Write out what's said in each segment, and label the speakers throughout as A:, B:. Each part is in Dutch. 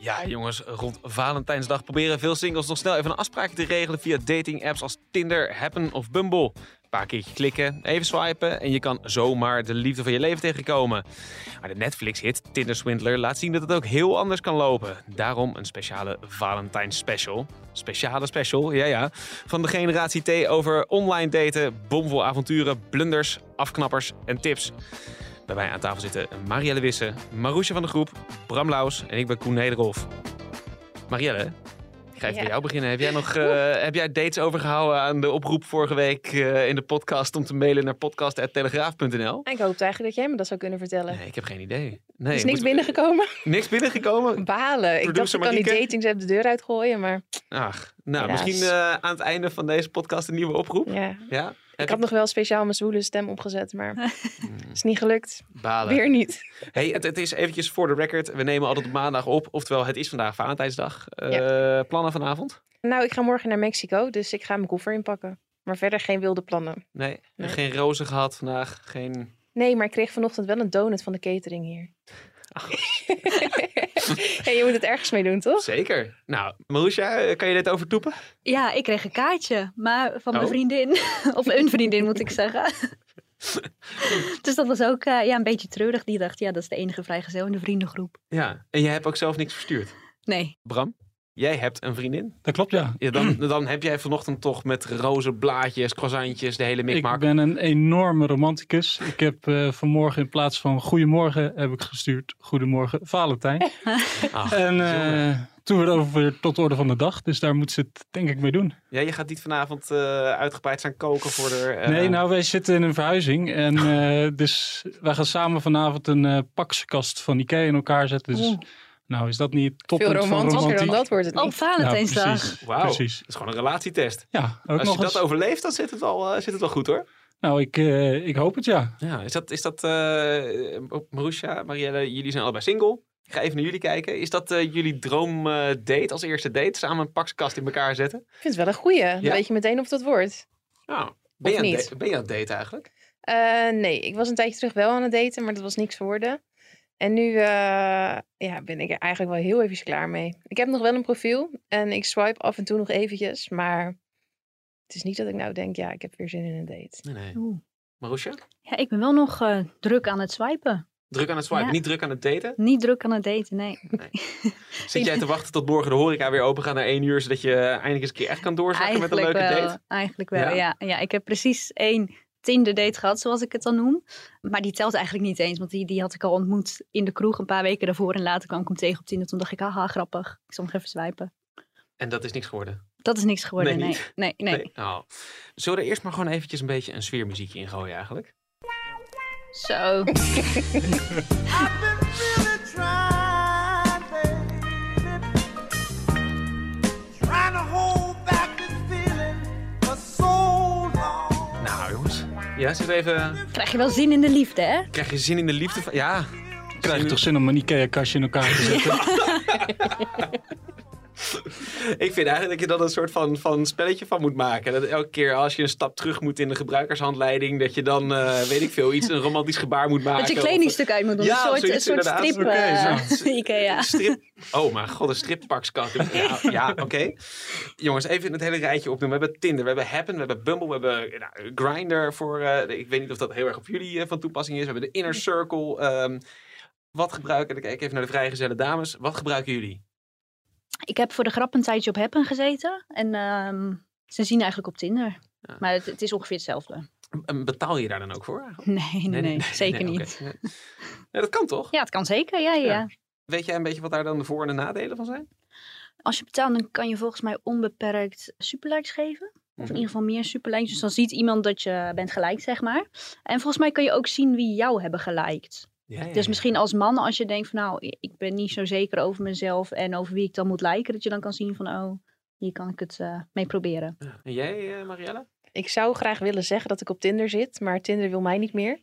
A: Ja, jongens, rond Valentijnsdag proberen veel singles nog snel even een afspraak te regelen via datingapps als Tinder, Happen of Bumble. Een paar keertje klikken, even swipen en je kan zomaar de liefde van je leven tegenkomen. Maar de Netflix-hit Tinder Swindler laat zien dat het ook heel anders kan lopen. Daarom een speciale Valentijns special. Speciale special, ja ja. Van de generatie T over online daten, bomvol avonturen, blunders, afknappers en tips. Bij mij aan tafel zitten Marielle Wisse, Maroesje van de Groep, Bram Laus en ik ben Koen Nederhof. Marielle, ik ga even
B: Ja.
A: bij jou beginnen. Heb jij nog eh, heb jij dates overgehouden aan de oproep vorige week eh, in de podcast om te mailen naar podcast.telegraaf.nl?
B: Ik hoopte eigenlijk dat jij me dat zou kunnen vertellen.
A: Nee, ik heb geen idee. Nee,
B: er is
A: moet-
B: niks binnengekomen.
A: niks binnengekomen?
B: Balen. Ik dacht,
A: Producer
B: ik kan die
A: Marieke?
B: datingsapps de deur uitgooien, maar
A: Ach, nou,
B: Helaas.
A: misschien eh, aan het einde van deze podcast een nieuwe oproep.
B: ja.
A: Ja?
B: Ik had nog wel speciaal mijn zwoele stem opgezet, maar
A: Mm,
B: is niet gelukt.
A: Balen.
B: Weer niet.
A: Hey, het, het is eventjes voor de record. We nemen altijd op maandag op. Oftewel, het is vandaag Valentijnsdag. Eh, Plannen vanavond?
B: Nou, ik ga morgen naar Mexico, dus ik ga mijn koffer inpakken. Maar verder geen wilde plannen.
A: Nee.
B: Nee.
A: Geen rozen gehad vandaag. Geen...
B: Nee, maar ik kreeg vanochtend wel een donut van de catering hier. hey, je moet het ergens mee doen, toch?
A: Zeker. Nou, Marusha, eh, kan je dit overtoepen?
C: Ja, ik kreeg een kaartje, maar van mijn
A: Oh.
C: vriendin. of een vriendin moet ik zeggen. dus dat was ook eh, ja, een beetje treurig. Die dacht, ja, dat is de enige vrijgezel in de vriendengroep.
A: Ja. En jij hebt ook zelf niks verstuurd.
C: Nee,
A: Bram, jij hebt een vriendin.
D: Dat klopt, ja.
A: Ja, dan, dan heb jij vanochtend toch met rozen, blaadjes, croissantjes, de hele
D: Ik
A: mikmak.
D: ben een enorme romanticus. Ik heb eh, vanmorgen in plaats van goedemorgen heb ik gestuurd goedemorgen Valentijn.
A: Ach,
D: En
A: jongen.
D: eh, toen werd over tot de orde van de dag. Dus daar moet ze het denk ik mee doen.
A: ja, je gaat niet vanavond eh uitgebreid zijn koken voor de... eh,
D: Nee, nou wij zitten in een verhuizing. En eh, dus wij gaan samen vanavond een eh pakskast van Ikea in elkaar zetten. Dus
C: Oeh.
D: nou is dat niet top
B: Veel
D: van
B: romantischer
D: romantiek?
B: dan dat wordt het
C: op
B: niet.
D: Ja,
C: Valentijnsdag.
D: precies.
A: Wauw, dat
D: precies.
A: is gewoon een relatietest.
D: Ja, ook
A: Als
D: nog
A: je dat
D: eens.
A: overleeft, dan zit het wel, eh, zit het wel goed hoor.
D: Nou, ik, eh, ik hoop het ja.
A: Ja, is dat, is dat eh Marusha, Marielle, jullie zijn allebei single. Ik ga even naar jullie kijken. Is dat eh, jullie droomdate date als eerste date? Samen een pakskast in elkaar zetten?
B: Ik vind het wel een goeie. Dan
A: Ja.
B: weet je meteen of dat wordt.
A: Nou, ben, je
B: Of
A: aan het
B: niet?
A: da- ben je aan het daten eigenlijk?
B: Eh, nee, ik was een tijdje terug wel aan het daten, maar dat was niks geworden. En nu eh, ja, ben ik er eigenlijk wel heel even klaar mee. Ik heb nog wel een profiel en ik swipe af en toe nog eventjes, maar het is niet dat ik nou denk, ja, ik heb weer zin in een date.
A: Nee, nee.
C: Oeh.
A: Marusha?
C: Ja, ik ben wel nog eh, druk aan het swipen.
A: Druk aan het swipen,
C: Ja.
A: niet druk aan het daten.
C: Niet druk aan het daten, nee.
A: Zit jij te wachten tot morgen de horeca weer open gaat naar één uur, zodat je eindelijk eens een keer echt kan doorzakken met een leuke
C: wel,
A: date?
C: Eigenlijk wel,
A: Ja?
C: ja. Ja, Ik heb precies één Tinder date gehad, zoals ik het dan noem. Maar die telt eigenlijk niet eens, want die, die had ik al ontmoet in de kroeg een paar weken daarvoor. En later kwam ik hem tegen op Tinder. Toen dacht ik, haha, grappig. Ik zal nog even swipen.
A: En dat is niks geworden.
C: Dat is niks geworden,
A: Nee,
C: nee. Nee, nee.
A: Nou, zullen we er eerst maar gewoon eventjes een beetje een sfeermuziekje in gooien eigenlijk?
C: Zo.
E: Trying to hold back this feeling for so long.
A: Nou jongens, ja, zit even...
C: Krijg je wel zin in de liefde, hè?
A: Krijg je zin in de liefde van... Ja,
D: Krijg je toch zin om een Ikea-kastje in elkaar te zetten?
A: Ik vind eigenlijk dat je dat een soort van, van spelletje van moet maken. Dat elke keer als je een stap terug moet in de gebruikershandleiding, dat je dan, eh, weet ik veel, iets, een romantisch gebaar moet maken.
C: Dat je kledingstuk uit moet doen.
A: Ja,
C: een soort,
A: zoiets
C: een soort
A: inderdaad. Oké,
C: strip. eh,
A: zo.
C: Ikea.
A: Of Strip. Oh, mijn god, een strippakskast. Ja, ja oké. Jongens, even het hele rijtje opnoemen. We hebben Tinder, we hebben Happen, we hebben Bumble, we hebben nou, Grindr voor. eh, ik weet niet of dat heel erg op jullie eh, van toepassing is. We hebben de Inner Circle. ehm, wat gebruiken, dan kijk ik even naar de vrijgezelle dames. Wat gebruiken jullie?
C: Ik heb voor de grap een tijdje op Happen gezeten. En ehm, ze zien eigenlijk op Tinder.
A: Ja.
C: Maar het, het is ongeveer hetzelfde.
A: En Betaal je daar dan ook voor?
C: Nee, nee, nee, zeker
A: nee, oké.
C: niet.
A: Nee. Nee, dat kan toch?
C: Ja, het kan zeker. Ja, ja, ja.
A: Weet jij een beetje wat daar dan de voor- en de nadelen van zijn?
C: Als je betaalt, dan kan je volgens mij onbeperkt superlikes geven. Of in
A: Mhm.
C: ieder geval meer superlikes. Dus dan ziet iemand dat je bent geliked, zeg maar. En volgens mij kan je ook zien wie jou hebben geliked.
A: Ja, ja,
C: Dus
A: ja.
C: misschien als man, als je denkt van nou, ik ben niet zo zeker over mezelf en over wie ik dan moet lijken, dat je dan kan zien van oh, hier kan ik het eh, mee proberen.
A: En jij, eh, Marielle?
B: Ik zou graag willen zeggen dat ik op Tinder zit, maar Tinder wil mij niet meer.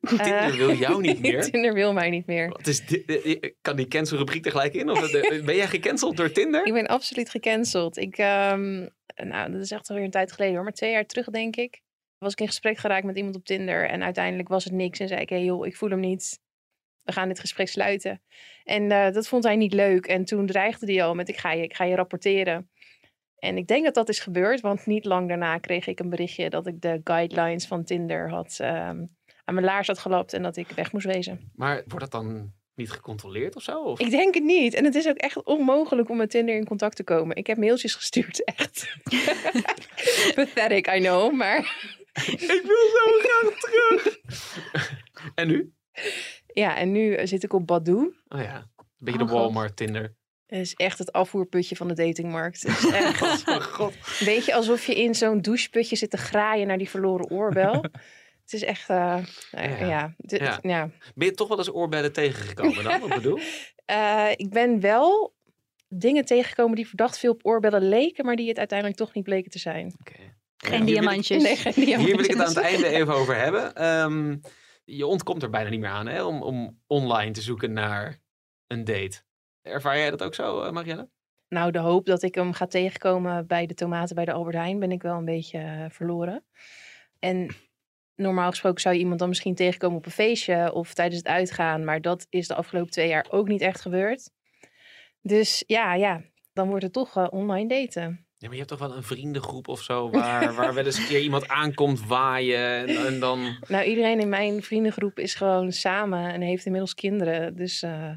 B: Eh,
A: Tinder wil jou niet meer.
B: Tinder wil mij niet meer.
A: Wat is dit? Eh, eh, Kan die cancelrubriek er gelijk in? Of eh, ben jij gecanceld door Tinder?
B: Ik ben absoluut gecanceld. Ik, ehm, nou, dat is echt alweer een tijd geleden hoor, maar twee jaar terug denk ik. Was ik in gesprek geraakt met iemand op Tinder en uiteindelijk was het niks. En zei ik, hey joh, ik voel hem niet. we gaan dit gesprek sluiten. En eh, dat vond hij niet leuk. En toen dreigde hij al met, ik ga je, ik ga je rapporteren. En ik denk dat dat is gebeurd, want niet lang daarna kreeg ik een berichtje dat ik de guidelines van Tinder had ehm, aan mijn laars had gelapt en dat ik weg moest wezen.
A: Maar wordt dat dan niet gecontroleerd of zo? Of?
B: Ik denk het niet. En het is ook echt onmogelijk om met Tinder in contact te komen. Ik heb mailtjes gestuurd, echt. Pathetic, I know, maar
A: Ik wil zo graag terug. en nu?
B: ja, en nu eh, zit ik op Badoo.
A: Oh ja, een beetje
C: Oh,
A: de
C: God.
A: Walmart, Tinder.
B: Het is echt het afvoerputje van de datingmarkt. Het is echt
A: Oh god.
B: een beetje alsof je in zo'n doucheputje zit te graaien naar die verloren oorbel. Het is echt, eh, eh,
A: Ja.
B: ja. de-
A: Ja.
B: ja.
A: Ben je toch wel eens oorbellen tegengekomen dan? Wat bedoel?
B: Eh, ik ben wel dingen tegengekomen die verdacht veel op oorbellen leken, maar die het uiteindelijk toch niet bleken te zijn.
A: Oké.
C: Geen
A: Ja.
C: diamantjes.
B: Nee, geen
A: Hier wil ik het aan
B: diamantjes.
A: het einde even over hebben. Ehm, je ontkomt er bijna niet meer aan hè, om, om online te zoeken naar een date. Ervaar jij dat ook zo, eh, Marielle?
B: Nou, de hoop dat ik hem ga tegenkomen bij de tomaten bij de Albert Heijn ben ik wel een beetje eh, verloren. En normaal gesproken zou je iemand dan misschien tegenkomen op een feestje of tijdens het uitgaan, maar dat is de afgelopen twee jaar ook niet echt gebeurd. Dus ja, ja, dan wordt het toch eh, online daten.
A: Ja, maar je hebt toch wel een vriendengroep of zo waar, waar wel eens een keer iemand aankomt waaien en, en dan...
B: Nou, iedereen in mijn vriendengroep is gewoon samen en heeft inmiddels kinderen, dus eh,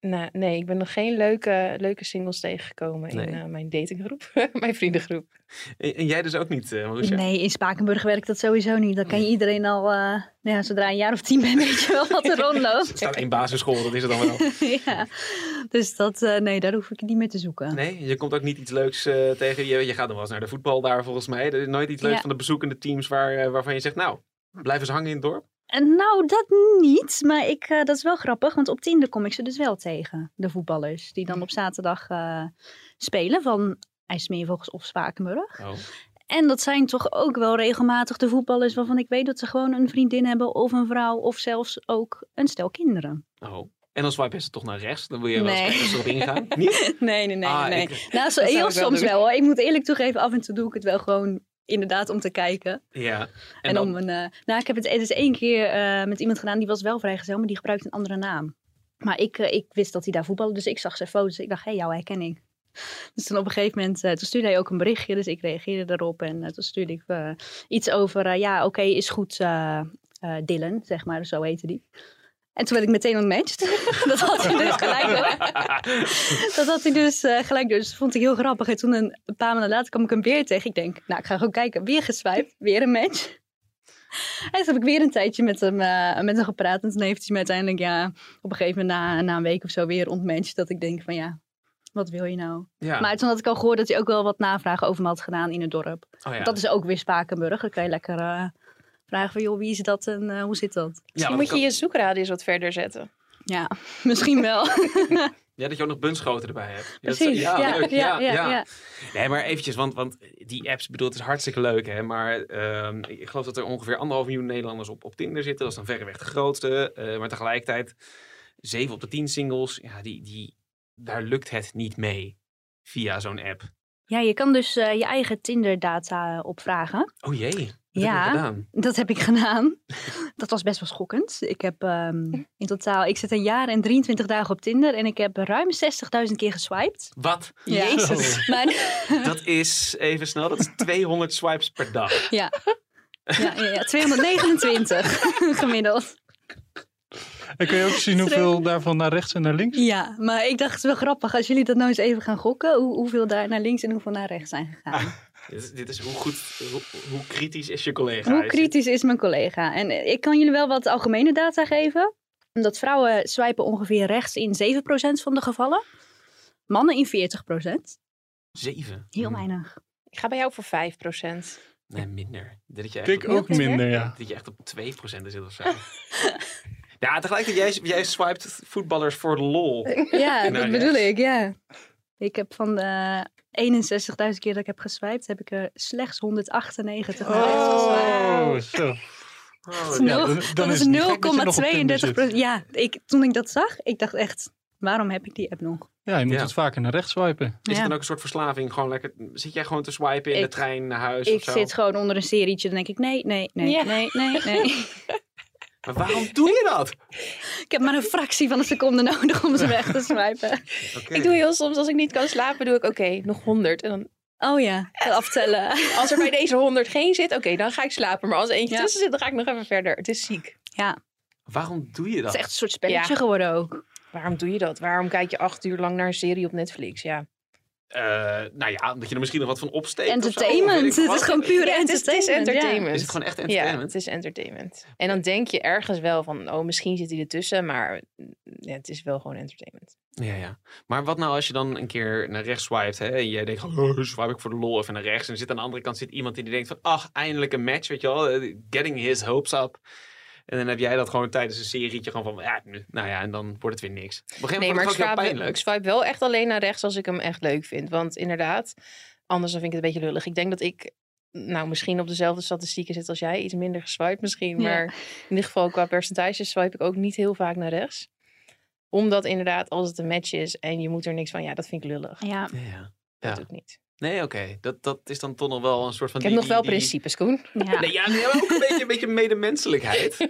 B: nou, nee, ik ben nog geen leuke, leuke singles tegengekomen in
A: Nee.
B: eh, mijn datinggroep, mijn vriendengroep.
A: En, en jij dus ook niet, eh, Marusha?
C: Nee, in Spakenburg werkt dat sowieso niet. Dan kan je iedereen al, eh, nou ja, zodra je een jaar of tien bent, weet je wel wat er
A: Er
C: rondloopt.
A: staat één basisschool, dat is het dan wel.
C: ja. Dus dat, eh, nee, daar hoef ik niet meer te zoeken.
A: Nee, je komt ook niet iets leuks eh, tegen. Je, je gaat dan wel eens naar de voetbal daar volgens mij. Er is nooit iets leuks
C: Ja.
A: van de bezoekende teams waar, eh, waarvan je zegt, nou, blijf eens hangen in het dorp.
C: En nou, dat niet. Maar ik, eh, dat is wel grappig, want op Tinder kom ik ze dus wel tegen. De voetballers die
A: Mhm.
C: dan op zaterdag eh, spelen van IJsmeervogels of Spakenburg.
A: Oh.
C: En dat zijn toch ook wel regelmatig de voetballers waarvan ik weet dat ze gewoon een vriendin hebben of een vrouw of zelfs ook een stel kinderen.
A: oh. En dan swipe je ze toch naar rechts. Dan wil je wel eens
C: Nee.
A: kijken of ze erop ingaan. Niet?
C: Nee, nee, nee.
A: Ah,
C: nee.
A: ik-
C: Nou, zo,
B: Dat zou
C: heel
B: ik wel
C: soms
B: doen.
C: wel hoor. Ik moet eerlijk toegeven, af en toe doe ik het wel gewoon inderdaad om te kijken.
A: ja. En,
C: En,
A: dan,
C: om een. eh, nou, ik heb het, het is één keer eh, met iemand gedaan die was wel vrijgezel, maar die gebruikte een andere naam. Maar ik, eh, ik wist dat hij daar voetbalde, dus ik zag zijn foto's. Ik dacht, hé, hey, jou herken ik. Dus toen op een gegeven moment, eh, toen stuurde hij ook een berichtje, dus ik reageerde daarop. En eh, toen stuurde ik eh, iets over, eh, ja, oké, is goed, eh, eh, Dylan, zeg maar, zo heette die. En toen werd ik meteen ontmatched. dat had hij dus gelijk hoor. Dat had hij dus eh, gelijk door. Dus dat vond ik heel grappig. En toen een paar maanden later kwam ik hem weer tegen. Ik denk, nou, ik ga gewoon kijken. Weer geswipt, weer een match. En toen dus heb ik weer een tijdje met hem, eh, met hem gepraat. En toen heeft hij me uiteindelijk, ja, op een gegeven moment na, na een week of zo weer ontmatcht. Dat ik denk van, ja, wat wil je nou?
A: ja.
C: Maar toen had ik al gehoord dat hij ook wel wat navragen over me had gedaan in het dorp.
A: Oh, ja.
C: Dat is ook weer Spakenburg. Dan kan je lekker eh, vragen van, joh, wie is dat en eh, hoe zit
A: ja,
C: dat?
B: Misschien
A: want
B: moet je
A: dat-
B: je zoekradius wat verder zetten.
C: Ja, misschien wel.
A: ja, dat je ook nog bunschoten erbij hebt. Ja, dat-
C: Precies. Ja, ja,
A: leuk.
C: ja, ja,
A: Nee, maar eventjes, want, want die apps, ik bedoel, het is hartstikke leuk, hè. Maar ehm, ik geloof dat er ongeveer anderhalf miljoen Nederlanders op, op Tinder zitten. Dat is dan verreweg de grootste. eh, maar tegelijkertijd, zeven op de tien singles, ja, die, die, daar lukt het niet mee via zo'n app.
C: Ja, je kan dus eh, je eigen Tinder-data opvragen.
A: Oh jee, dat heb ik
C: Ja.
A: gedaan.
C: Dat heb ik gedaan. Dat was best wel schokkend. Ik heb ehm, in totaal, ik zit een jaar en 23 dagen op Tinder en ik heb ruim 60.000 keer geswiped.
A: Wat?
C: Ja. Oh.
D: Jezus.
C: Maar,
A: Dat is, even snel, dat is 200 swipes per dag.
C: ja. Ja, ja, ja, 229 gemiddeld.
D: En kun je ook zien hoeveel daarvan naar rechts en naar links?
C: Ja, maar ik dacht, het is wel grappig als jullie dat nou eens even gaan gokken. Hoe, hoeveel daar naar links en hoeveel naar rechts zijn gegaan.
A: Dit is, dit is hoe goed, hoe, hoe kritisch is je collega?
C: Hoe kritisch is mijn collega? En eh, ik kan jullie wel wat algemene data geven. Omdat vrouwen swipen ongeveer rechts in 7% van de gevallen. Mannen in 40%.
A: Zeven.
C: Heel
A: Hm,
C: weinig.
B: Ik ga bij jou voor 5%.
A: Nee, minder. Dit dat je echt
D: Ik ook minder, ja.
A: Dat je echt op 2% zit of zo. ja, tegelijkertijd, jij, jij swipet voetballers voor de lol.
C: Ja,
A: Naar
C: dat
A: rechts.
C: bedoel ik, ja. Ik heb van de 61.000 keer dat ik heb geswiped, heb ik er slechts 198 naar rechts geswiped.
D: Oh, zo.
A: Oh,
D: Ja,
C: Nul-
D: dan- dan
C: dat
D: is het niet gek dat je nog op Tinder
C: is 0,32
D: zit.
C: procent. Ja, ik, toen ik dat zag, ik dacht echt, waarom heb ik die app nog?
D: Ja, je moet
A: Ja.
D: het vaker naar rechts swipen.
A: Is
C: Ja.
A: het dan ook een soort verslaving? Gewoon lekker, zit jij gewoon te swipen in de
C: Ik-
A: trein naar huis
C: Ik
A: of zo?
C: zit gewoon onder een serietje, dan denk ik, nee, nee, nee,
B: Ja.
C: nee, nee, nee.
A: Maar waarom doe je dat?
C: Ik heb maar een fractie van een seconde nodig om ze weg te swipen.
A: Oké.
B: Ik doe heel soms, als ik niet kan slapen, doe ik oké, nog 100. En dan,
C: Oh ja, aftellen.
B: als er bij deze 100 geen zit, oké, dan ga ik slapen. Maar als er eentje
C: Ja.
B: tussen zit, dan ga ik nog even verder. Het is ziek.
A: Waarom doe je
C: Het
A: dat?
C: is echt een soort spelletje geworden ook.
B: Waarom doe je dat? Waarom kijk je acht uur lang naar een serie op Netflix? Ja,
A: Eh, nou ja, omdat je er misschien nog wat van opsteekt. of zo, of weet ik
C: Entertainment. Het
A: wat.
C: is gewoon puur
B: Ja, het is,
C: entertainment.
B: het is
C: ja.
B: entertainment.
A: Is het gewoon echt
B: Ja,
A: entertainment?
B: het is entertainment. En dan denk je ergens wel van, oh, misschien zit hij ertussen, maar mm, ja, het is wel gewoon entertainment.
A: Ja, ja. Maar wat nou als je dan een keer naar rechts swipet hè, en jij denkt, oh, swipe ik voor de lol even naar rechts. En er zit aan de andere kant zit iemand die denkt van, ach, eindelijk een match, weet je wel. eh, Getting his hopes up. En dan heb jij dat gewoon tijdens een serietje gewoon van, ja, nu, nou ja, en dan wordt het weer niks. Op een gegeven
B: Nee,
A: moment
B: maar ik
A: wordt het ook heel
B: swipe, ik
A: pijnlijk.
B: swipe wel echt alleen naar rechts als ik hem echt leuk vind. Want inderdaad, anders dan vind ik het een beetje lullig. Ik denk dat ik, nou, misschien op dezelfde statistieken zit als jij. Iets minder geswiped misschien,
C: Ja.
B: maar in ieder geval qua percentage swipe ik ook niet heel vaak naar rechts. Omdat inderdaad, als het een match is en je moet er niks van, ja, dat vind ik lullig.
C: Ja.
A: Ja, ja.
B: Dat
A: Ja.
B: doe ik niet.
A: Nee, oké. Dat, dat is dan toch nog wel een soort van...
B: Ik heb
A: die-
B: nog wel
A: die- die-
B: principes, Koen.
C: ja.
A: Nee, ja, nee, maar ook een beetje, een beetje medemenselijkheid.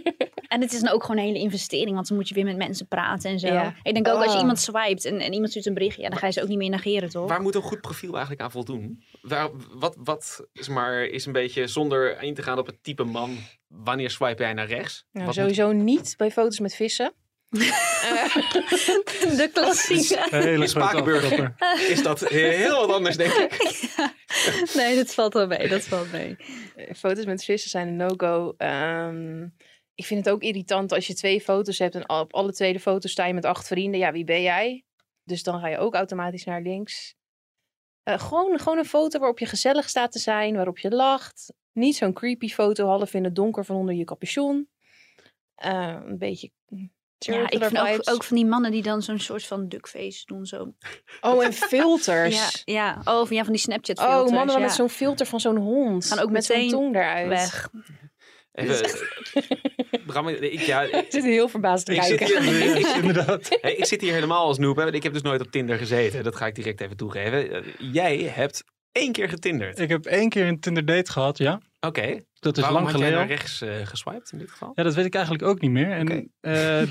C: En het is dan ook gewoon een hele investering, want dan moet je weer met mensen praten en zo.
B: Ja.
C: Ik denk ook als je
B: Oh.
C: iemand swipet en, en iemand stuurt een berichtje, ja, dan ga je ze ook niet meer negeren, toch?
A: Waar moet een goed profiel eigenlijk aan voldoen? Waar, wat wat is, maar, is een beetje zonder in te gaan op het type man. Wanneer swipe jij naar rechts?
B: Nou,
A: Wat
B: sowieso niet bij foto's met vissen. Eh,
C: De klassieke.
D: Een hele
A: In
D: grote
A: Spakenburg.
D: afklapper.
A: moet- is dat heel wat anders, denk ik.
C: Nee, dat valt wel mee, dat valt mee.
B: foto's met vissen zijn een no-go. Ehm, ik vind het ook irritant als je twee foto's hebt en al- op alle tweede foto sta je met acht vrienden. Ja, wie ben jij? Dus dan ga je ook automatisch naar links. Eh, gewoon, gewoon een foto waarop je gezellig staat te zijn, waarop je lacht. Niet zo'n creepy foto half in het donker van onder je capuchon. Eh, een beetje.
C: Ja, ik
B: Turtler
C: vind ook,
B: vibes.
C: ook van die mannen die dan zo'n soort van duckface doen, zo.
B: Oh, en filters.
C: Ja, ja. Oh, van, ja, van die Snapchat
B: Oh,
C: filters.
B: mannen dan
C: ja.
B: met zo'n filter van zo'n hond.
C: Gaan ook
B: met zo'n
C: meteen
B: tong eruit.
C: weg.
A: Even, Bram, ik, ja,
B: Ik zit heel verbaasd te
A: Ik zit
B: kijken.
A: hier,
D: Ja,
A: ik,
D: is inderdaad.
A: Hey, ik zit hier helemaal als noob. Hè. want Ik heb dus nooit op Tinder gezeten. Dat ga ik direct even toegeven. Eh, Jij hebt één keer getinderd.
D: Ik heb één keer een Tinder date gehad, ja.
A: Oké.
D: Dat is
A: Waarom
D: lang
A: had
D: geleden.
A: jij naar rechts eh geswiped in dit geval?
D: Ja, dat weet ik eigenlijk ook niet meer. En
A: Oké.
D: eh,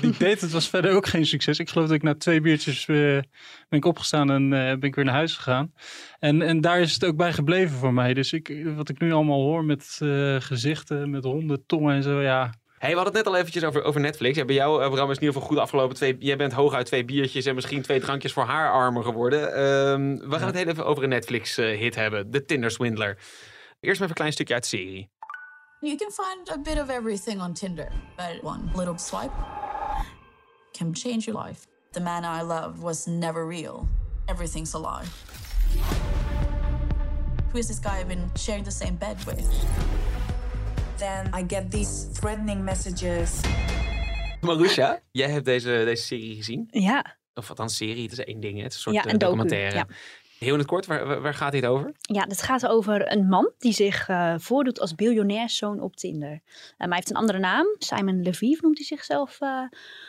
D: die date, het was verder ook geen succes. Ik geloof dat ik na twee biertjes eh, ben ik opgestaan en eh, ben ik weer naar huis gegaan. En, en daar is het ook bij gebleven voor mij. Dus ik, wat ik nu allemaal hoor met eh, gezichten, met honden, tongen en zo, ja.
A: Hey, we hadden het net al eventjes over, over Netflix. Ja, bij jou, eh, Bram, is in ieder geval goed afgelopen. Twee, jij bent hooguit twee biertjes en misschien twee drankjes voor haar armer geworden. Ehm, we gaan
D: Ja.
A: het heel even over een Netflix-hit hebben. De Tinder Swindler. Eerst maar even een klein stukje uit de serie.
F: You can find a bit of everything on Tinder, but one little swipe can change your life. The man I loved was never real. Everything's a lie. Who is this guy I've been sharing the same bed with?
G: then I get these threatening messages.
A: Marusha, jij hebt deze, deze serie gezien.
C: Ja.
A: Of althans, serie, het is één ding. hè. Het is een soort
C: Ja,
A: eh,
C: een docu,
A: documentaire.
C: ja.
A: Heel in het kort, waar, waar- waar gaat dit over?
C: ja, dat gaat over een man die zich eh, voordoet als biljonairszoon op Tinder. Eh, maar hij heeft een andere naam. Simon Leviev noemt hij zichzelf eh,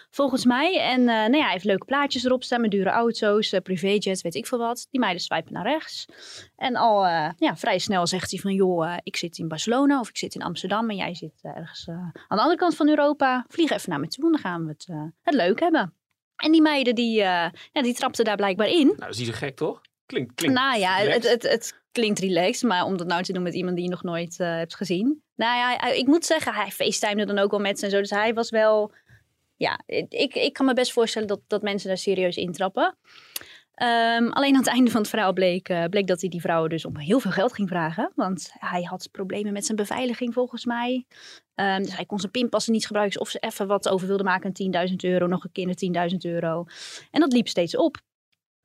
C: volgens mij. En eh, nou ja, hij heeft leuke plaatjes erop staan met dure auto's, eh, privéjets, weet ik veel wat. Die meiden swipen naar rechts. En al eh, ja, vrij snel zegt hij van joh, eh, ik zit in Barcelona of ik zit in Amsterdam en jij zit eh, ergens eh, aan de andere kant van Europa. Vlieg even naar me toe en dan gaan we het, eh, het leuk hebben. En die meiden die, eh, ja, die trapten daar blijkbaar in.
A: Nou, dat is niet zo gek, toch? Klinkt, klinkt.
C: Nou ja, het,
A: relaxed.
C: het, het klinkt relaxed, maar om dat nou te doen met iemand die je nog nooit eh, hebt gezien. Nou ja, hij- ik moet zeggen, hij facetimede dan ook wel met ze en zo. Dus hij was wel... Ja, ik, ik kan me best voorstellen dat, dat mensen daar serieus intrappen. Ehm, alleen aan het einde van het verhaal bleek, eh, bleek dat hij die vrouwen dus om heel veel geld ging vragen. Want hij had problemen met zijn beveiliging volgens mij. Ehm, dus hij kon zijn pinpassen niet gebruiken. Of ze even wat over wilde maken, een 10.000 euro, nog een keer een 10.000 euro. En dat liep steeds op.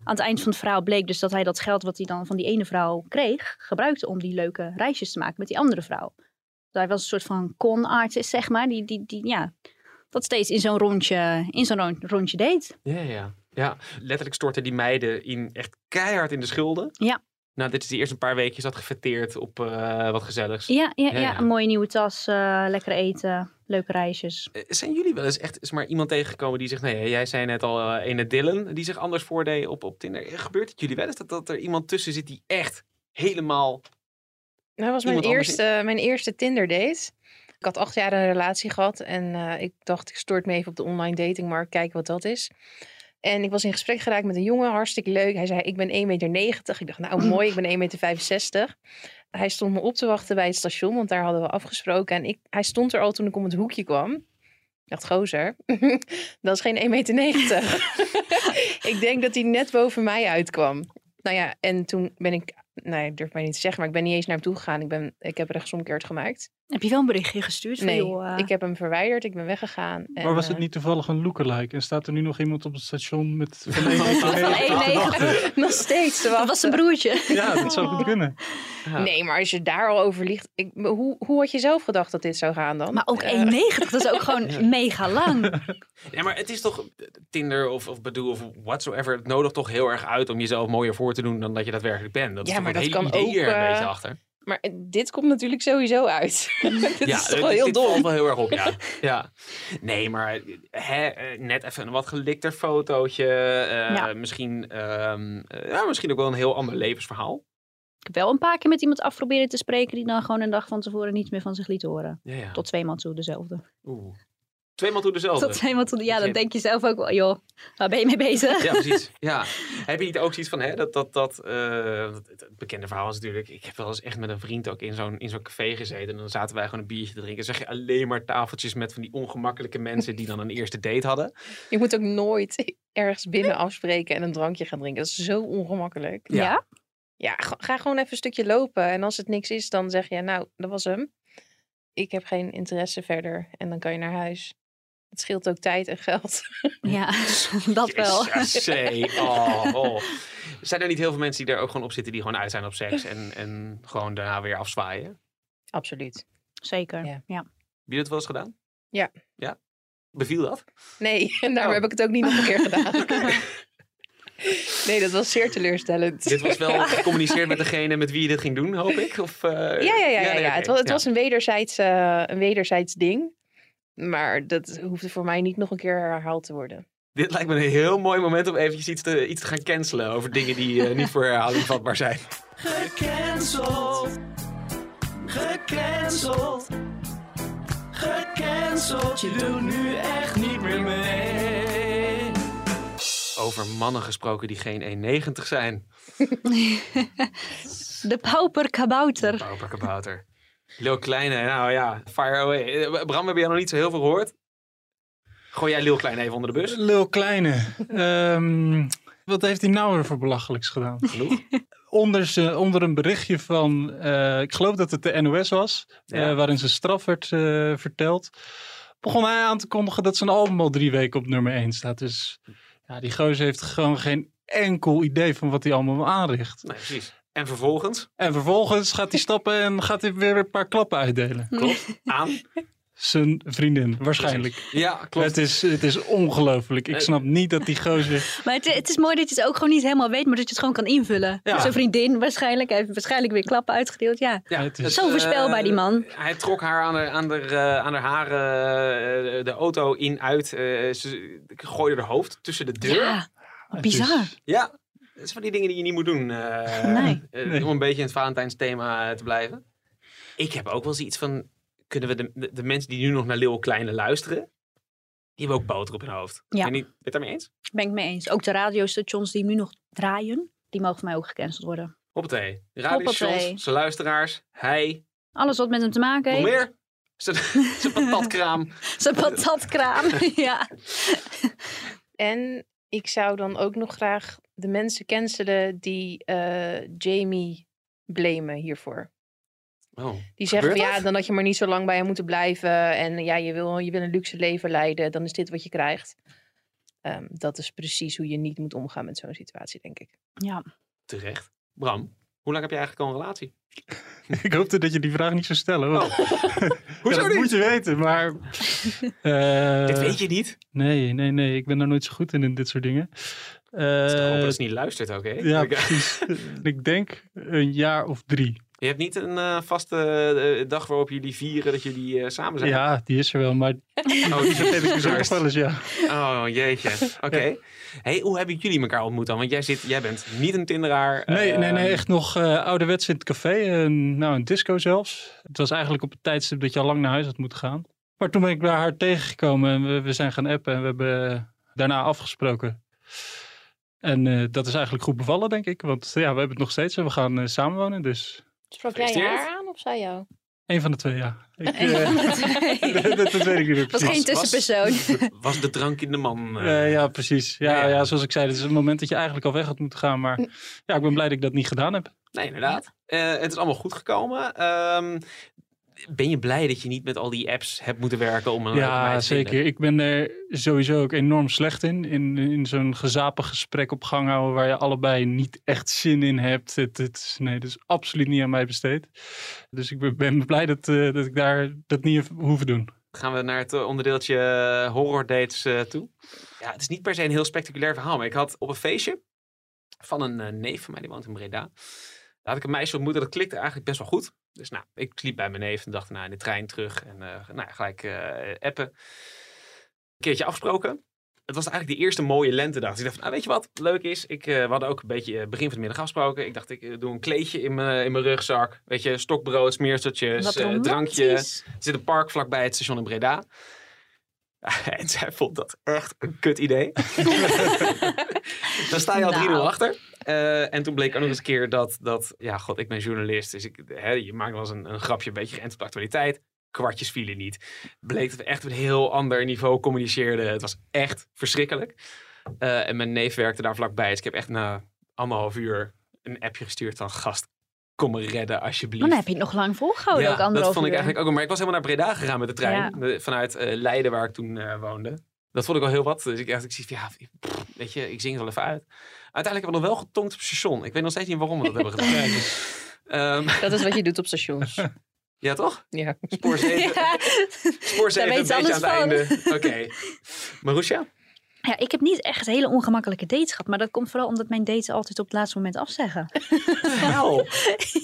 C: Aan het eind van het verhaal bleek dus dat hij dat geld wat hij dan van die ene vrouw kreeg, gebruikte om die leuke reisjes te maken met die andere vrouw. Dus hij was een soort van con-artist, zeg maar, die, die, die ja, dat steeds in zo'n rondje, in zo'n rond- rondje deed.
A: Ja, ja. ja, letterlijk storten die meiden in echt keihard in de schulden.
C: Ja.
A: Nou, dit is de eerste paar weekjes dat gefeteerd op eh, wat gezelligs.
C: Ja, ja,
A: Ja,
C: ja,
A: ja.
C: een mooie nieuwe tas, eh, lekker eten, leuke reisjes.
A: Eh, Zijn jullie wel eens echt is maar iemand tegengekomen die zegt, nee, jij zei net al eh ene Dylan, die zich anders voordeed op, op Tinder. Eh, Gebeurt het jullie wel eens dat, dat er iemand tussen zit die echt helemaal...
B: Dat was mijn
A: Iemand anders
B: eerste, mijn eerste Tinder date. Ik had acht jaar een relatie gehad en eh, ik dacht, ik stoort me even op de online datingmarkt, kijken wat dat is. En ik was in gesprek geraakt met een jongen, hartstikke leuk. Hij zei, ik ben 1,90 meter. Ik dacht, nou mooi, ik ben 1,65 meter. Hij stond me op te wachten bij het station, want daar hadden we afgesproken. En ik, hij stond er al toen ik om het hoekje kwam. Ik dacht, gozer, dat is geen 1,90 meter. ik denk dat hij net boven mij uitkwam. Nou ja, en toen ben ik, nee, ik durf mij niet te zeggen, maar ik ben niet eens naar hem toe gegaan. Ik, ben, ik heb rechtsomkeerd gemaakt.
C: Heb je wel een berichtje gestuurd? van,
B: Nee,
C: joh, eh,
B: ik heb hem verwijderd, ik ben weggegaan. En,
D: Maar was het
B: eh,
D: niet toevallig een lookalike? En staat er nu nog iemand op het station met van één
C: Van
D: meter
C: 1,90.
B: nog steeds? te
C: Dat was
B: wachten?
C: zijn broertje.
D: Ja, dat zou goed kunnen.
A: eh,
B: Nee, maar als je daar al over ligt, ik, hoe, hoe had je zelf gedacht dat dit zou gaan dan?
C: Maar ook
B: Eh,
C: 1,90, dat is ook gewoon mega lang.
A: Ja, maar het is toch eh, Tinder of, of Badoo of whatsoever. Het nodigt toch heel erg uit om jezelf mooier voor te doen dan dat je daadwerkelijk bent. Dat is
B: Ja,
A: toch
B: maar
A: het
B: dat
A: hele
B: kan
A: idee
B: ook,
A: er een
B: eh,
A: beetje achter.
B: Maar eh, dit komt natuurlijk sowieso uit. dit is toch wel
A: dit-
B: heel
A: dit valt
B: dom.
A: wel heel erg op, ja. ja. Nee, maar hè, eh, net even een wat gelikter fotootje. eh,
C: Ja.
A: misschien, ehm, eh, ja, misschien ook wel een heel ander levensverhaal.
C: Ik heb wel een paar keer met iemand afproberen te spreken die dan gewoon een dag van tevoren niets meer van zich liet horen.
A: Ja, ja.
C: Tot tweemaal toe dezelfde.
A: Oeh. Tweemaal toe dezelfde.
C: Tot tweemaal toe, ja, dan
A: Begin.
C: denk je zelf ook wel, joh, waar ben je mee bezig?
A: Ja, precies. Ja. Heb je niet ook zoiets van hè, dat dat, dat eh, het- het bekende verhaal is natuurlijk. Ik heb wel eens echt met een vriend ook in zo'n in zo'n café gezeten. En dan zaten wij gewoon een biertje te drinken. Dan zeg je alleen maar tafeltjes met van die ongemakkelijke mensen die dan een eerste date hadden.
B: Je moet ook nooit ergens binnen afspreken en een drankje gaan drinken. Dat is zo ongemakkelijk.
A: Ja.
C: Ja?
B: Ja, ga ga gewoon even een stukje lopen. En als het niks is, dan zeg je, nou, dat was hem. Ik heb geen interesse verder. En dan kan je naar huis. Het scheelt ook tijd en geld.
C: Ja, dat wel.
A: Jezus, hé. Oh, oh. Zijn er niet heel veel mensen die daar ook gewoon op zitten die gewoon uit zijn op seks en, en gewoon daarna weer afzwaaien? Heb
B: Absoluut.
C: Zeker,
B: Ja.
C: ja.
A: je dat wel eens gedaan?
B: Ja.
A: Ja? Beviel dat?
B: Nee, en daarom
A: Oh.
B: heb ik het ook niet nog een keer gedaan. nee, dat was zeer teleurstellend.
A: Dit was wel gecommuniceerd met degene met wie je dit ging doen, hoop ik? Of, eh,
B: Ja, ja, ja, ja,
A: nee,
B: ja.
A: oké.
B: Het, was, het was een wederzijds, eh, een wederzijds ding. Maar dat hoefde voor mij niet nog een keer herhaald te worden.
A: Dit lijkt me een heel mooi moment om eventjes iets te, iets te gaan cancelen over dingen die eh, niet voor herhaling vatbaar zijn.
E: Gecanceld. Gecanceld. Gecanceld. Je doet nu echt niet meer mee.
A: Over mannen gesproken die geen 1,90 zijn.
C: De pauper kabouter.
A: Pauper kabouter. Lil Kleine, nou ja, fire away. Eh, Bram, heb jij nog niet zo heel veel gehoord? Gooi jij Lil Kleine even onder de bus?
D: Lil Kleine. Ehm, wat heeft hij nou weer voor belachelijks gedaan?
A: Genoeg.
D: onder, ze, onder een berichtje van, eh, ik geloof dat het de NOS was,
A: Ja.
D: eh, waarin zijn straf werd eh, verteld, begon hij aan te kondigen dat zijn album al drie weken op nummer 1 staat. Dus ja, die gozer heeft gewoon geen enkel idee van wat hij allemaal aanricht.
A: Nee, precies. En vervolgens
D: En vervolgens gaat hij stappen en gaat hij weer een paar klappen uitdelen.
A: aan.
D: Zijn vriendin, waarschijnlijk.
A: Ja, klopt.
D: Het is, het is ongelooflijk. Ik
A: Eh.
D: snap niet dat die gozer...
C: Maar het, het is mooi dat je het ook gewoon niet helemaal weet, maar dat je het gewoon kan invullen.
A: Ja.
C: Zijn vriendin waarschijnlijk, hij heeft waarschijnlijk weer klappen uitgedeeld, ja.
A: Ja,
D: Het is-
A: het,
C: Zo
A: eh,
C: voorspelbaar, die man.
A: Hij trok haar aan haar, aan haar, eh, aan haar haren eh, de auto in, uit. eh, ze gooide haar hoofd tussen de deur.
C: Ja,
D: het
C: bizar.
D: is-
A: Ja, dat is van die dingen die je niet moet doen. eh,
C: Nee.
A: eh,
D: Nee.
A: Om een beetje in het Valentijnsthema eh, te blijven. Ik heb ook wel eens iets van... Kunnen we de, de, de mensen die nu nog naar Leeuw Kleine luisteren... Die hebben ook boter op hun hoofd.
C: Ja.
A: Ben je niet- het daarmee eens?
C: ben ik mee eens. Ook de radiostations die nu nog draaien, die mogen voor mij ook gecanceld worden.
A: Hoppatee. Radiostations,
C: Hoppatee.
A: zijn luisteraars, hij,
C: Alles wat met hem te maken
A: nog
C: heeft.
A: meer. Zijn zijn patatkraam.
C: Zijn patatkraam, ja.
B: En ik zou dan ook nog graag de mensen cancelen die eh, Jamie blamen hiervoor.
A: Oh.
B: Die zeggen van
A: Gebeurt
B: ja,
A: dat?
B: dan had je maar niet zo lang bij hem moeten blijven. En ja, je wil, je wil een luxe leven leiden. Dan is dit wat je krijgt. Ehm, dat is precies hoe je niet moet omgaan met zo'n situatie, denk ik.
C: Ja,
A: Terecht. Bram, hoe lang heb je eigenlijk al een relatie?
D: Ik hoopte dat je die vraag niet zou stellen. want-
A: Oh, Hoezo
D: ja, dat
A: niet?
D: moet je weten, maar... eh,
A: Dit weet je niet.
D: Nee, nee, nee. Ik ben daar nooit zo goed in, in dit soort dingen. Eh,
A: Ik hoop dat ze niet luistert, oké?
D: ja, precies. ik denk een jaar of drie.
A: Je hebt niet een eh, vaste eh, dag waarop jullie vieren dat jullie eh, samen zijn?
D: Ja, die is er wel, maar
A: Oh, die
D: dat heb ik dus ook nog
A: Juist.
D: wel eens, ja.
A: Oh, jeetje. Oké. Hey, hoe hebben jullie elkaar ontmoet dan? Want jij, zit, jij bent niet een Tinderaar.
D: Nee,
A: eh,
D: nee, nee, echt nog eh, ouderwets in het café. eh, nou, een disco zelfs. Het was eigenlijk op het tijdstip dat je al lang naar huis had moeten gaan. Maar toen ben ik bij haar tegengekomen en we, we zijn gaan appen en we hebben eh, daarna afgesproken. En eh, dat is eigenlijk goed bevallen, denk ik. Want ja, we hebben het nog steeds en we gaan eh, samenwonen. Dus
B: Sprak jij
A: Gefeliciteerd.
B: haar aan of zij jou?
D: één van de twee, ja. Ik, eh, dat, dat weet ik niet meer
C: was
D: precies.
C: geen tussenpersoon.
A: Was de drank in de man? eh?
D: Eh, ja, precies. Ja,
A: Ja,
D: ja.
A: ja.
D: zoals ik zei, het is een moment dat je eigenlijk al weg had moeten gaan. Maar ja, ik ben blij dat ik dat niet gedaan heb.
A: Nee, inderdaad. Eh, het is allemaal goed gekomen. Ehm, ben je blij dat je niet met al die apps hebt moeten werken om een leuke meid
D: Ja,
A: te vinden?
D: zeker. Ik ben er sowieso ook enorm slecht in. In, in zo'n gezapig gesprek op gang houden waar je allebei niet echt zin in hebt. Het, het, is- nee, dat is absoluut niet aan mij besteed. Dus ik ben, ben blij dat, eh, dat ik daar dat niet heb hoeven doen.
A: Gaan we naar het eh, onderdeeltje eh, horror dates eh, toe. Ja, het is niet per se een heel spectaculair verhaal. Maar ik had op een feestje van een eh, neef van mij, die woont in Breda. Daar had ik een meisje ontmoet en dat klikte eigenlijk best wel goed. Dus nou, ik sliep bij mijn neef en dacht nou, in de trein terug. En eh, nou, ja, gelijk eh, appen. Een keertje afgesproken. Het was eigenlijk de eerste mooie lentedag. Dus ik dacht van, nou, weet je wat leuk is? Ik, eh, we hadden ook een beetje eh, begin van de middag afgesproken. Ik dacht, ik eh, doe een kleedje in mijn in mijn rugzak. Weet je, stokbrood, smeerseltjes, eh, drankje.
C: romantisch.
A: Er zit een park vlakbij het station in Breda. En zij vond dat echt een kut idee. Dan sta je al 3-0
C: Nou.
A: achter. Eh, en toen bleek ook nog eens een keer dat, dat... Ja, god, ik ben journalist. Dus ik, hè, je maakt wel eens een, een grapje, een beetje geënt op de actualiteit. Kwartjes vielen niet. Bleek dat we echt op een heel ander niveau communiceerden. Het was echt verschrikkelijk. Eh, en mijn neef werkte daar vlakbij. Dus ik heb echt na anderhalf uur een appje gestuurd van... Gast, kom me redden alsjeblieft.
C: Maar Oh, dan heb je het nog lang volgehouden, ook Oh, anderhalf
A: Dat vond ik
C: uur.
A: eigenlijk ook. Maar ik was helemaal naar Breda gegaan met de trein.
C: Ja.
A: De- Vanuit eh, Leiden, waar ik toen eh, woonde. Dat vond ik al heel wat. Dus ik dacht, ik zie, van, ja, pff, weet je, ik zing het wel even uit. Uiteindelijk hebben we nog wel getonkt op het station. Ik weet nog steeds niet waarom we dat hebben gedaan. Ehm,
B: Dat is wat je doet op stations.
A: ja, toch?
B: Ja.
A: Spoor 7,
C: Ja.
A: spoor
C: Daar
A: 7 een
C: weet
A: beetje
C: ze
A: aan
C: alles
A: het einde.
C: van.
A: Oké. Marusha?
C: Ja, ik heb niet echt hele ongemakkelijke dates gehad. Maar dat komt vooral omdat mijn dates altijd op het laatste moment afzeggen.
A: Nou,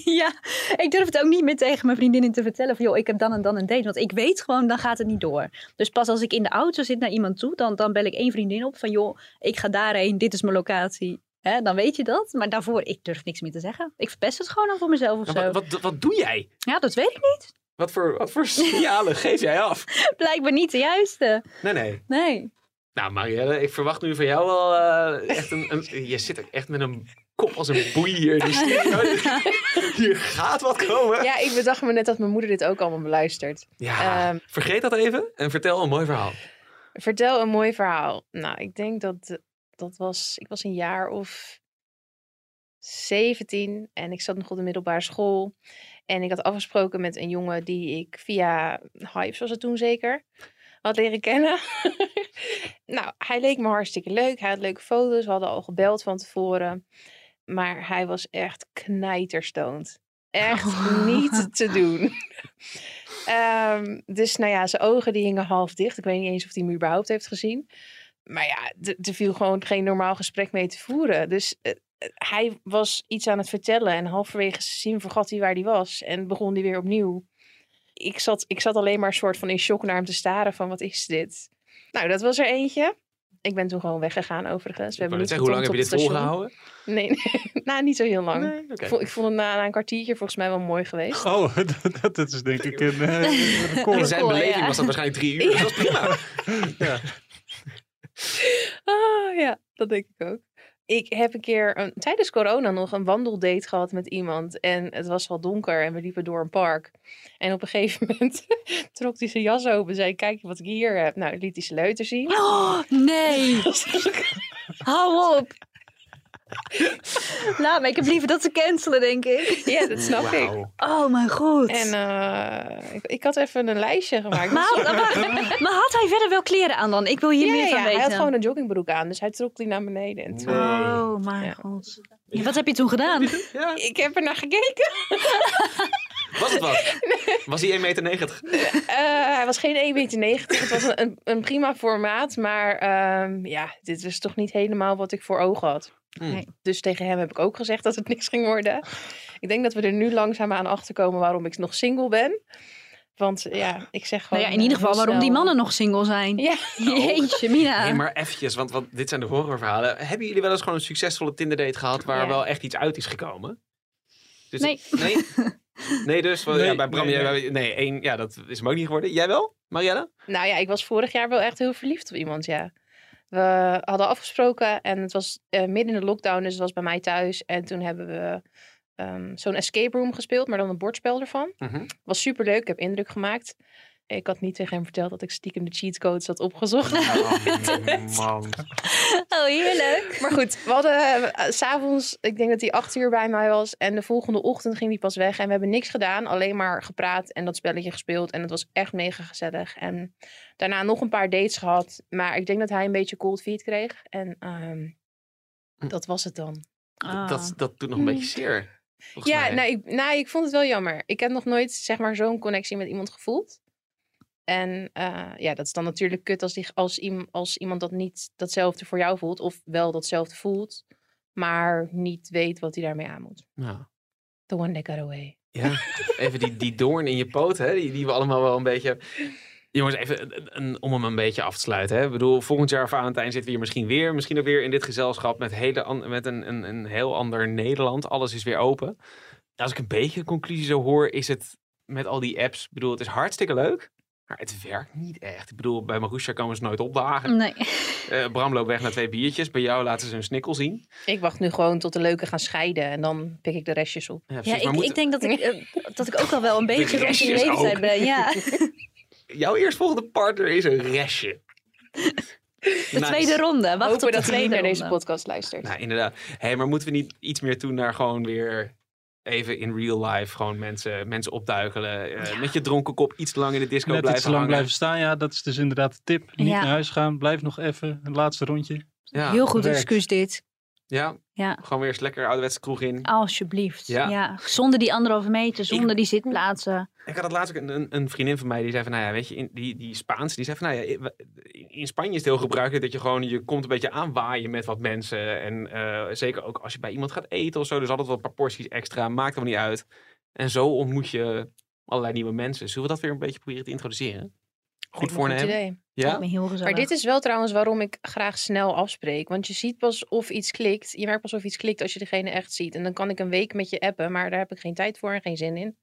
C: ja, ik durf het ook niet meer tegen mijn vriendinnen te vertellen. Van joh, ik heb dan en dan een date. Want ik weet gewoon, dan gaat het niet door. Dus pas als ik in de auto zit naar iemand toe, dan, dan bel ik één vriendin op. Van joh, ik ga daarheen, dit is mijn locatie. Hè, dan weet je dat. Maar daarvoor, ik durf niks meer te zeggen. Ik verpest het gewoon al voor mezelf of zo.
A: Nou, wat, wat, wat doe jij?
C: Ja, dat weet ik niet.
A: Wat voor, wat voor signalen geef jij af?
C: Blijkbaar niet de juiste.
A: Nee, nee.
C: Nee.
A: Nou, Marielle, ik verwacht nu van jou wel eh, echt een, een- Je zit er echt met een kop als een boei hier in die studio. Hier gaat wat komen. Ja,
B: ja, ik bedacht me net dat mijn moeder dit ook allemaal beluistert. Ehm.
A: vergeet dat even en vertel een mooi verhaal.
B: Vertel een mooi verhaal. Nou, ik denk dat dat was. Ik was een jaar of 17 en ik zat nog op de middelbare school. En ik had afgesproken met een jongen die ik via Hives was het toen zeker had leren kennen. nou, hij leek me hartstikke leuk. Hij had leuke foto's. We hadden al gebeld van tevoren. Maar hij was echt knijterstoned. Echt niet te doen. Ehm, dus nou ja, zijn ogen die hingen half dicht. Ik weet niet eens of hij me überhaupt heeft gezien. Maar ja, d- er viel gewoon geen normaal gesprek mee te voeren. Dus eh, eh, hij was iets aan het vertellen. En halverwege zijn zin vergat hij waar hij was. En begon hij weer opnieuw. Ik zat, ik zat alleen maar soort van in shock naar hem te staren van wat is dit? Nou, dat was er eentje. Ik ben toen gewoon weggegaan overigens. We
A: Ik wou net
B: hebben niet
A: zeggen, hoe lang heb je
B: getonkt
A: dit
B: op
A: volgehouden?
B: het station. Nee, nee, nou, niet zo heel lang.
A: Nee, oké.
B: Ik vond- Ik vond het na, na een kwartiertje volgens mij wel mooi geweest.
D: Oh, dat, dat, is denk ik een eh, een
A: In
D: record.
A: zijn
C: Cool,
A: beleving
C: ja.
A: was dat waarschijnlijk drie uur. Dat was prima.
D: Ja.
B: Ah, ja, dat denk ik ook. Ik heb een keer een, tijdens corona nog een wandeldate gehad met iemand. En het was wel donker en we liepen door een park. En op een gegeven moment trok hij zijn jas open en zei: Kijk wat ik hier heb. Nou, liet hij zijn leuter zien.
C: Oh, nee. Hou op. Laat me. Nou, Ik heb liever dat ze cancelen, denk ik.
B: ja, dat snap ik.
A: Wauw.
C: Oh, mijn god.
B: En eh, ik, ik had even een lijstje gemaakt.
C: Maar, had- maar- maar had hij verder wel kleren aan dan? Ik wil hier
B: Ja,
C: meer van
B: ja,
C: weten.
B: hij had gewoon een joggingbroek aan, dus hij trok die naar beneden. En toen-
C: Oh, mijn
B: Ja.
C: god. Ja, wat heb je toen gedaan?
B: Ik heb er naar gekeken.
A: Was het wat? Was hij 1,90 meter?
B: Eh, hij was geen 1,90 meter. Het was een, een, een prima formaat. Maar ehm, ja, dit is toch niet helemaal wat ik voor ogen had.
A: Hmm.
C: Nee.
B: Dus tegen hem heb ik ook gezegd dat het niks ging worden. Ik denk dat we er nu langzaam aan achterkomen waarom ik nog single ben. Want ja, ik zeg gewoon...
C: Nou ja, in ieder
B: eh, heel
C: geval waarom die
B: snel-
C: mannen nog single zijn.
B: Ja,
C: Jeetje, Mina.
A: Nee, maar eventjes, want, want dit zijn de horrorverhalen. Hebben jullie wel eens gewoon een succesvolle Tinder-date gehad waar
B: Ja.
A: wel echt iets uit is gekomen? Dus-
C: Nee.
A: Nee? Nee, dus want, ja,
D: Nee,
A: bij Bram,
D: nee,
A: jij-
D: nee.
A: bij- nee, één, ja, dat is hem ook niet geworden. Jij wel, Marielle?
B: nou ja, ik was vorig jaar wel echt heel verliefd op iemand, ja. We hadden afgesproken en het was eh, midden in de lockdown, dus het was bij mij thuis. En toen hebben we ehm, zo'n escape room gespeeld, maar dan een bordspel ervan. Was superleuk, ik heb indruk gemaakt. Ik had niet tegen hem verteld dat ik stiekem de cheatcodes had opgezocht.
A: man.
C: Oh, heerlijk.
B: Maar goed, we hadden eh, s s'avonds, ik denk dat hij acht uur bij mij was. En de volgende ochtend ging hij pas weg. En we hebben niks gedaan, alleen maar gepraat en dat spelletje gespeeld. En het was echt mega gezellig. En daarna nog een paar dates gehad. Maar ik denk dat hij een beetje cold feet kreeg. En ehm,
A: Hm.
B: dat was het dan.
C: Ah.
A: Dat, dat doet nog een beetje zeer. volgens
B: ja,
A: mij.
B: nou ik, nou, ik vond het wel jammer. Ik heb nog nooit, zeg maar, zo'n connectie met iemand gevoeld. En eh, ja, dat is dan natuurlijk kut als, die, als, iem- als iemand dat niet datzelfde voor jou voelt. Of wel datzelfde voelt, maar niet weet wat hij daarmee aan moet.
A: Nou,
B: The one that got away.
A: ja. Even die, die doorn in je poot, hè, die, die we allemaal wel een beetje... Jongens, even een- een- om hem een beetje af te sluiten. Hè. Ik bedoel, volgend jaar Valentijn zitten we hier misschien weer. Misschien ook weer in dit gezelschap met, hele an- met een, een, een heel ander Nederland. Alles is weer open. Nou, Als ik een beetje een conclusie zo hoor, is het met al die apps... Ik bedoel, het is hartstikke leuk, maar het werkt niet echt. Ik bedoel, bij Marusha komen ze nooit opdagen.
C: Nee.
A: Eh, Bram loopt weg naar twee biertjes. Bij jou laten ze een snikkel zien.
B: Ik wacht nu gewoon tot de leuke gaan scheiden en dan pik ik de restjes op.
A: Ja, precies,
C: Ja,
A: maar
C: ik,
A: moet-
C: ik denk dat ik, eh, dat ik ook al wel een beetje rond die
A: restjes ook.
C: leeftijd ben. Ja.
A: Jouw eerstvolgende partner is een restje.
C: De tweede
A: dus-
C: ronde. Wacht
B: Hopen
C: op de
B: dat hij
C: tweede
B: naar deze
C: ronde.
B: podcast luistert.
A: Nou, inderdaad. Hé, maar moeten we niet iets meer toe naar gewoon weer even in real life gewoon mensen, mensen opduikelen. eh, Met je dronken kop iets te lang in de disco
D: Net iets
A: blijven
D: te lang
A: hangen.
D: blijven staan. Ja, dat is dus inderdaad de tip. Niet
C: Ja.
D: naar huis gaan. Blijf nog even. Een laatste rondje.
A: Ja,
C: Heel goed
D: Werkt.
C: excuus dit.
A: ja,
C: Ja.
A: gewoon weer eens lekker ouderwetse kroeg in.
C: Alsjeblieft.
A: Ja.
C: Ja. Zonder die anderhalve meter, zonder
A: Ik-
C: die zitplaatsen.
A: Ik had het laatst ook een, een, een vriendin van mij die zei van, nou ja, weet je, in, die, die Spaans, die zei van, nou ja, in- in Spanje is het heel gebruikelijk dat je gewoon, je komt een beetje aanwaaien met wat mensen. En eh, zeker ook als je bij iemand gaat eten of zo, dus altijd wel een paar porties extra, maakt hem niet uit. En zo ontmoet je allerlei nieuwe mensen. Zullen we dat weer een beetje proberen te introduceren? Goed
B: Lijkt me een
A: voornemen.
B: idee.
C: Ik
A: ja? nou.
C: ben heel gezellig.
B: Maar dit is wel trouwens waarom ik graag snel afspreek. Want je ziet pas of iets klikt. Je merkt pas of iets klikt als je degene echt ziet. En dan kan ik een week met je appen, maar daar heb ik geen tijd voor en geen zin in.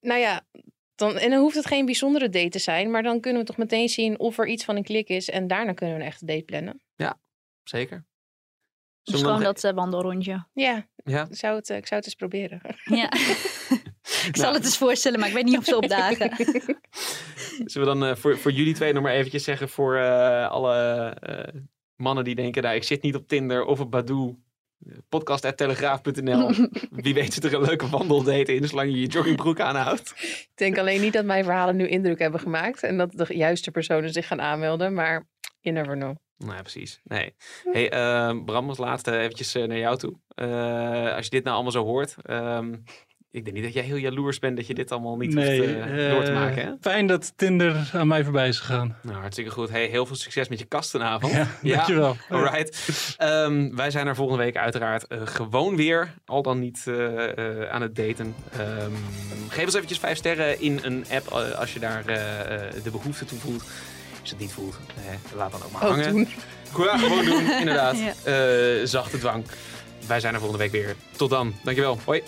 B: Nou ja, dan, en dan hoeft het geen bijzondere date te zijn. Maar dan kunnen we toch meteen zien of er iets van een klik is. En daarna kunnen we een echte date plannen.
A: Zeker.
C: dus
A: Zullen we
C: gewoon
A: nog-
C: dat eh, wandelrondje.
B: Ja,
A: Ja.
B: ik zou het, eh, ik zou het eens proberen.
C: Ja. ik
A: Nou.
C: zal het eens voorstellen, maar ik weet niet of ze opdagen.
A: Zullen we dan eh, voor, voor jullie twee nog maar eventjes zeggen voor eh, alle eh, mannen die denken, nou, ik zit niet op Tinder of op Badoo. eh, Podcast.telegraaf.nl. Wie weet zit er een leuke wandeldate in, zolang je je joggingbroek aanhoudt.
B: Ik denk alleen niet dat mijn verhalen nu indruk hebben gemaakt. En dat de juiste personen zich gaan aanmelden. Maar you never know.
A: Nou, precies. Nee. Hey, eh, Bram, als laatste eventjes eh, naar jou toe. Eh, als je dit nou allemaal zo hoort. ehm, ik denk niet dat jij heel jaloers bent dat je dit allemaal niet hoeft eh, door te
D: eh,
A: maken. Hè?
D: Fijn dat Tinder aan mij voorbij is gegaan.
A: Nou, hartstikke goed. Hey, heel veel succes met je kast vanavond.
D: Ja, dankjewel.
A: Alright. Ehm, wij zijn er volgende week uiteraard eh, gewoon weer. Al dan niet eh, eh, aan het daten. Ehm, geef ons eventjes vijf sterren in een app eh, als je daar eh, eh, de behoefte toe voelt. Als je het niet voelt, eh, laat dan ook maar
B: Ook
A: hangen.
B: doen.
A: Ja, gewoon doen, inderdaad.
C: Ja.
A: Eh, zachte dwang. Wij zijn er volgende week weer. Tot dan. Dankjewel. Hoi.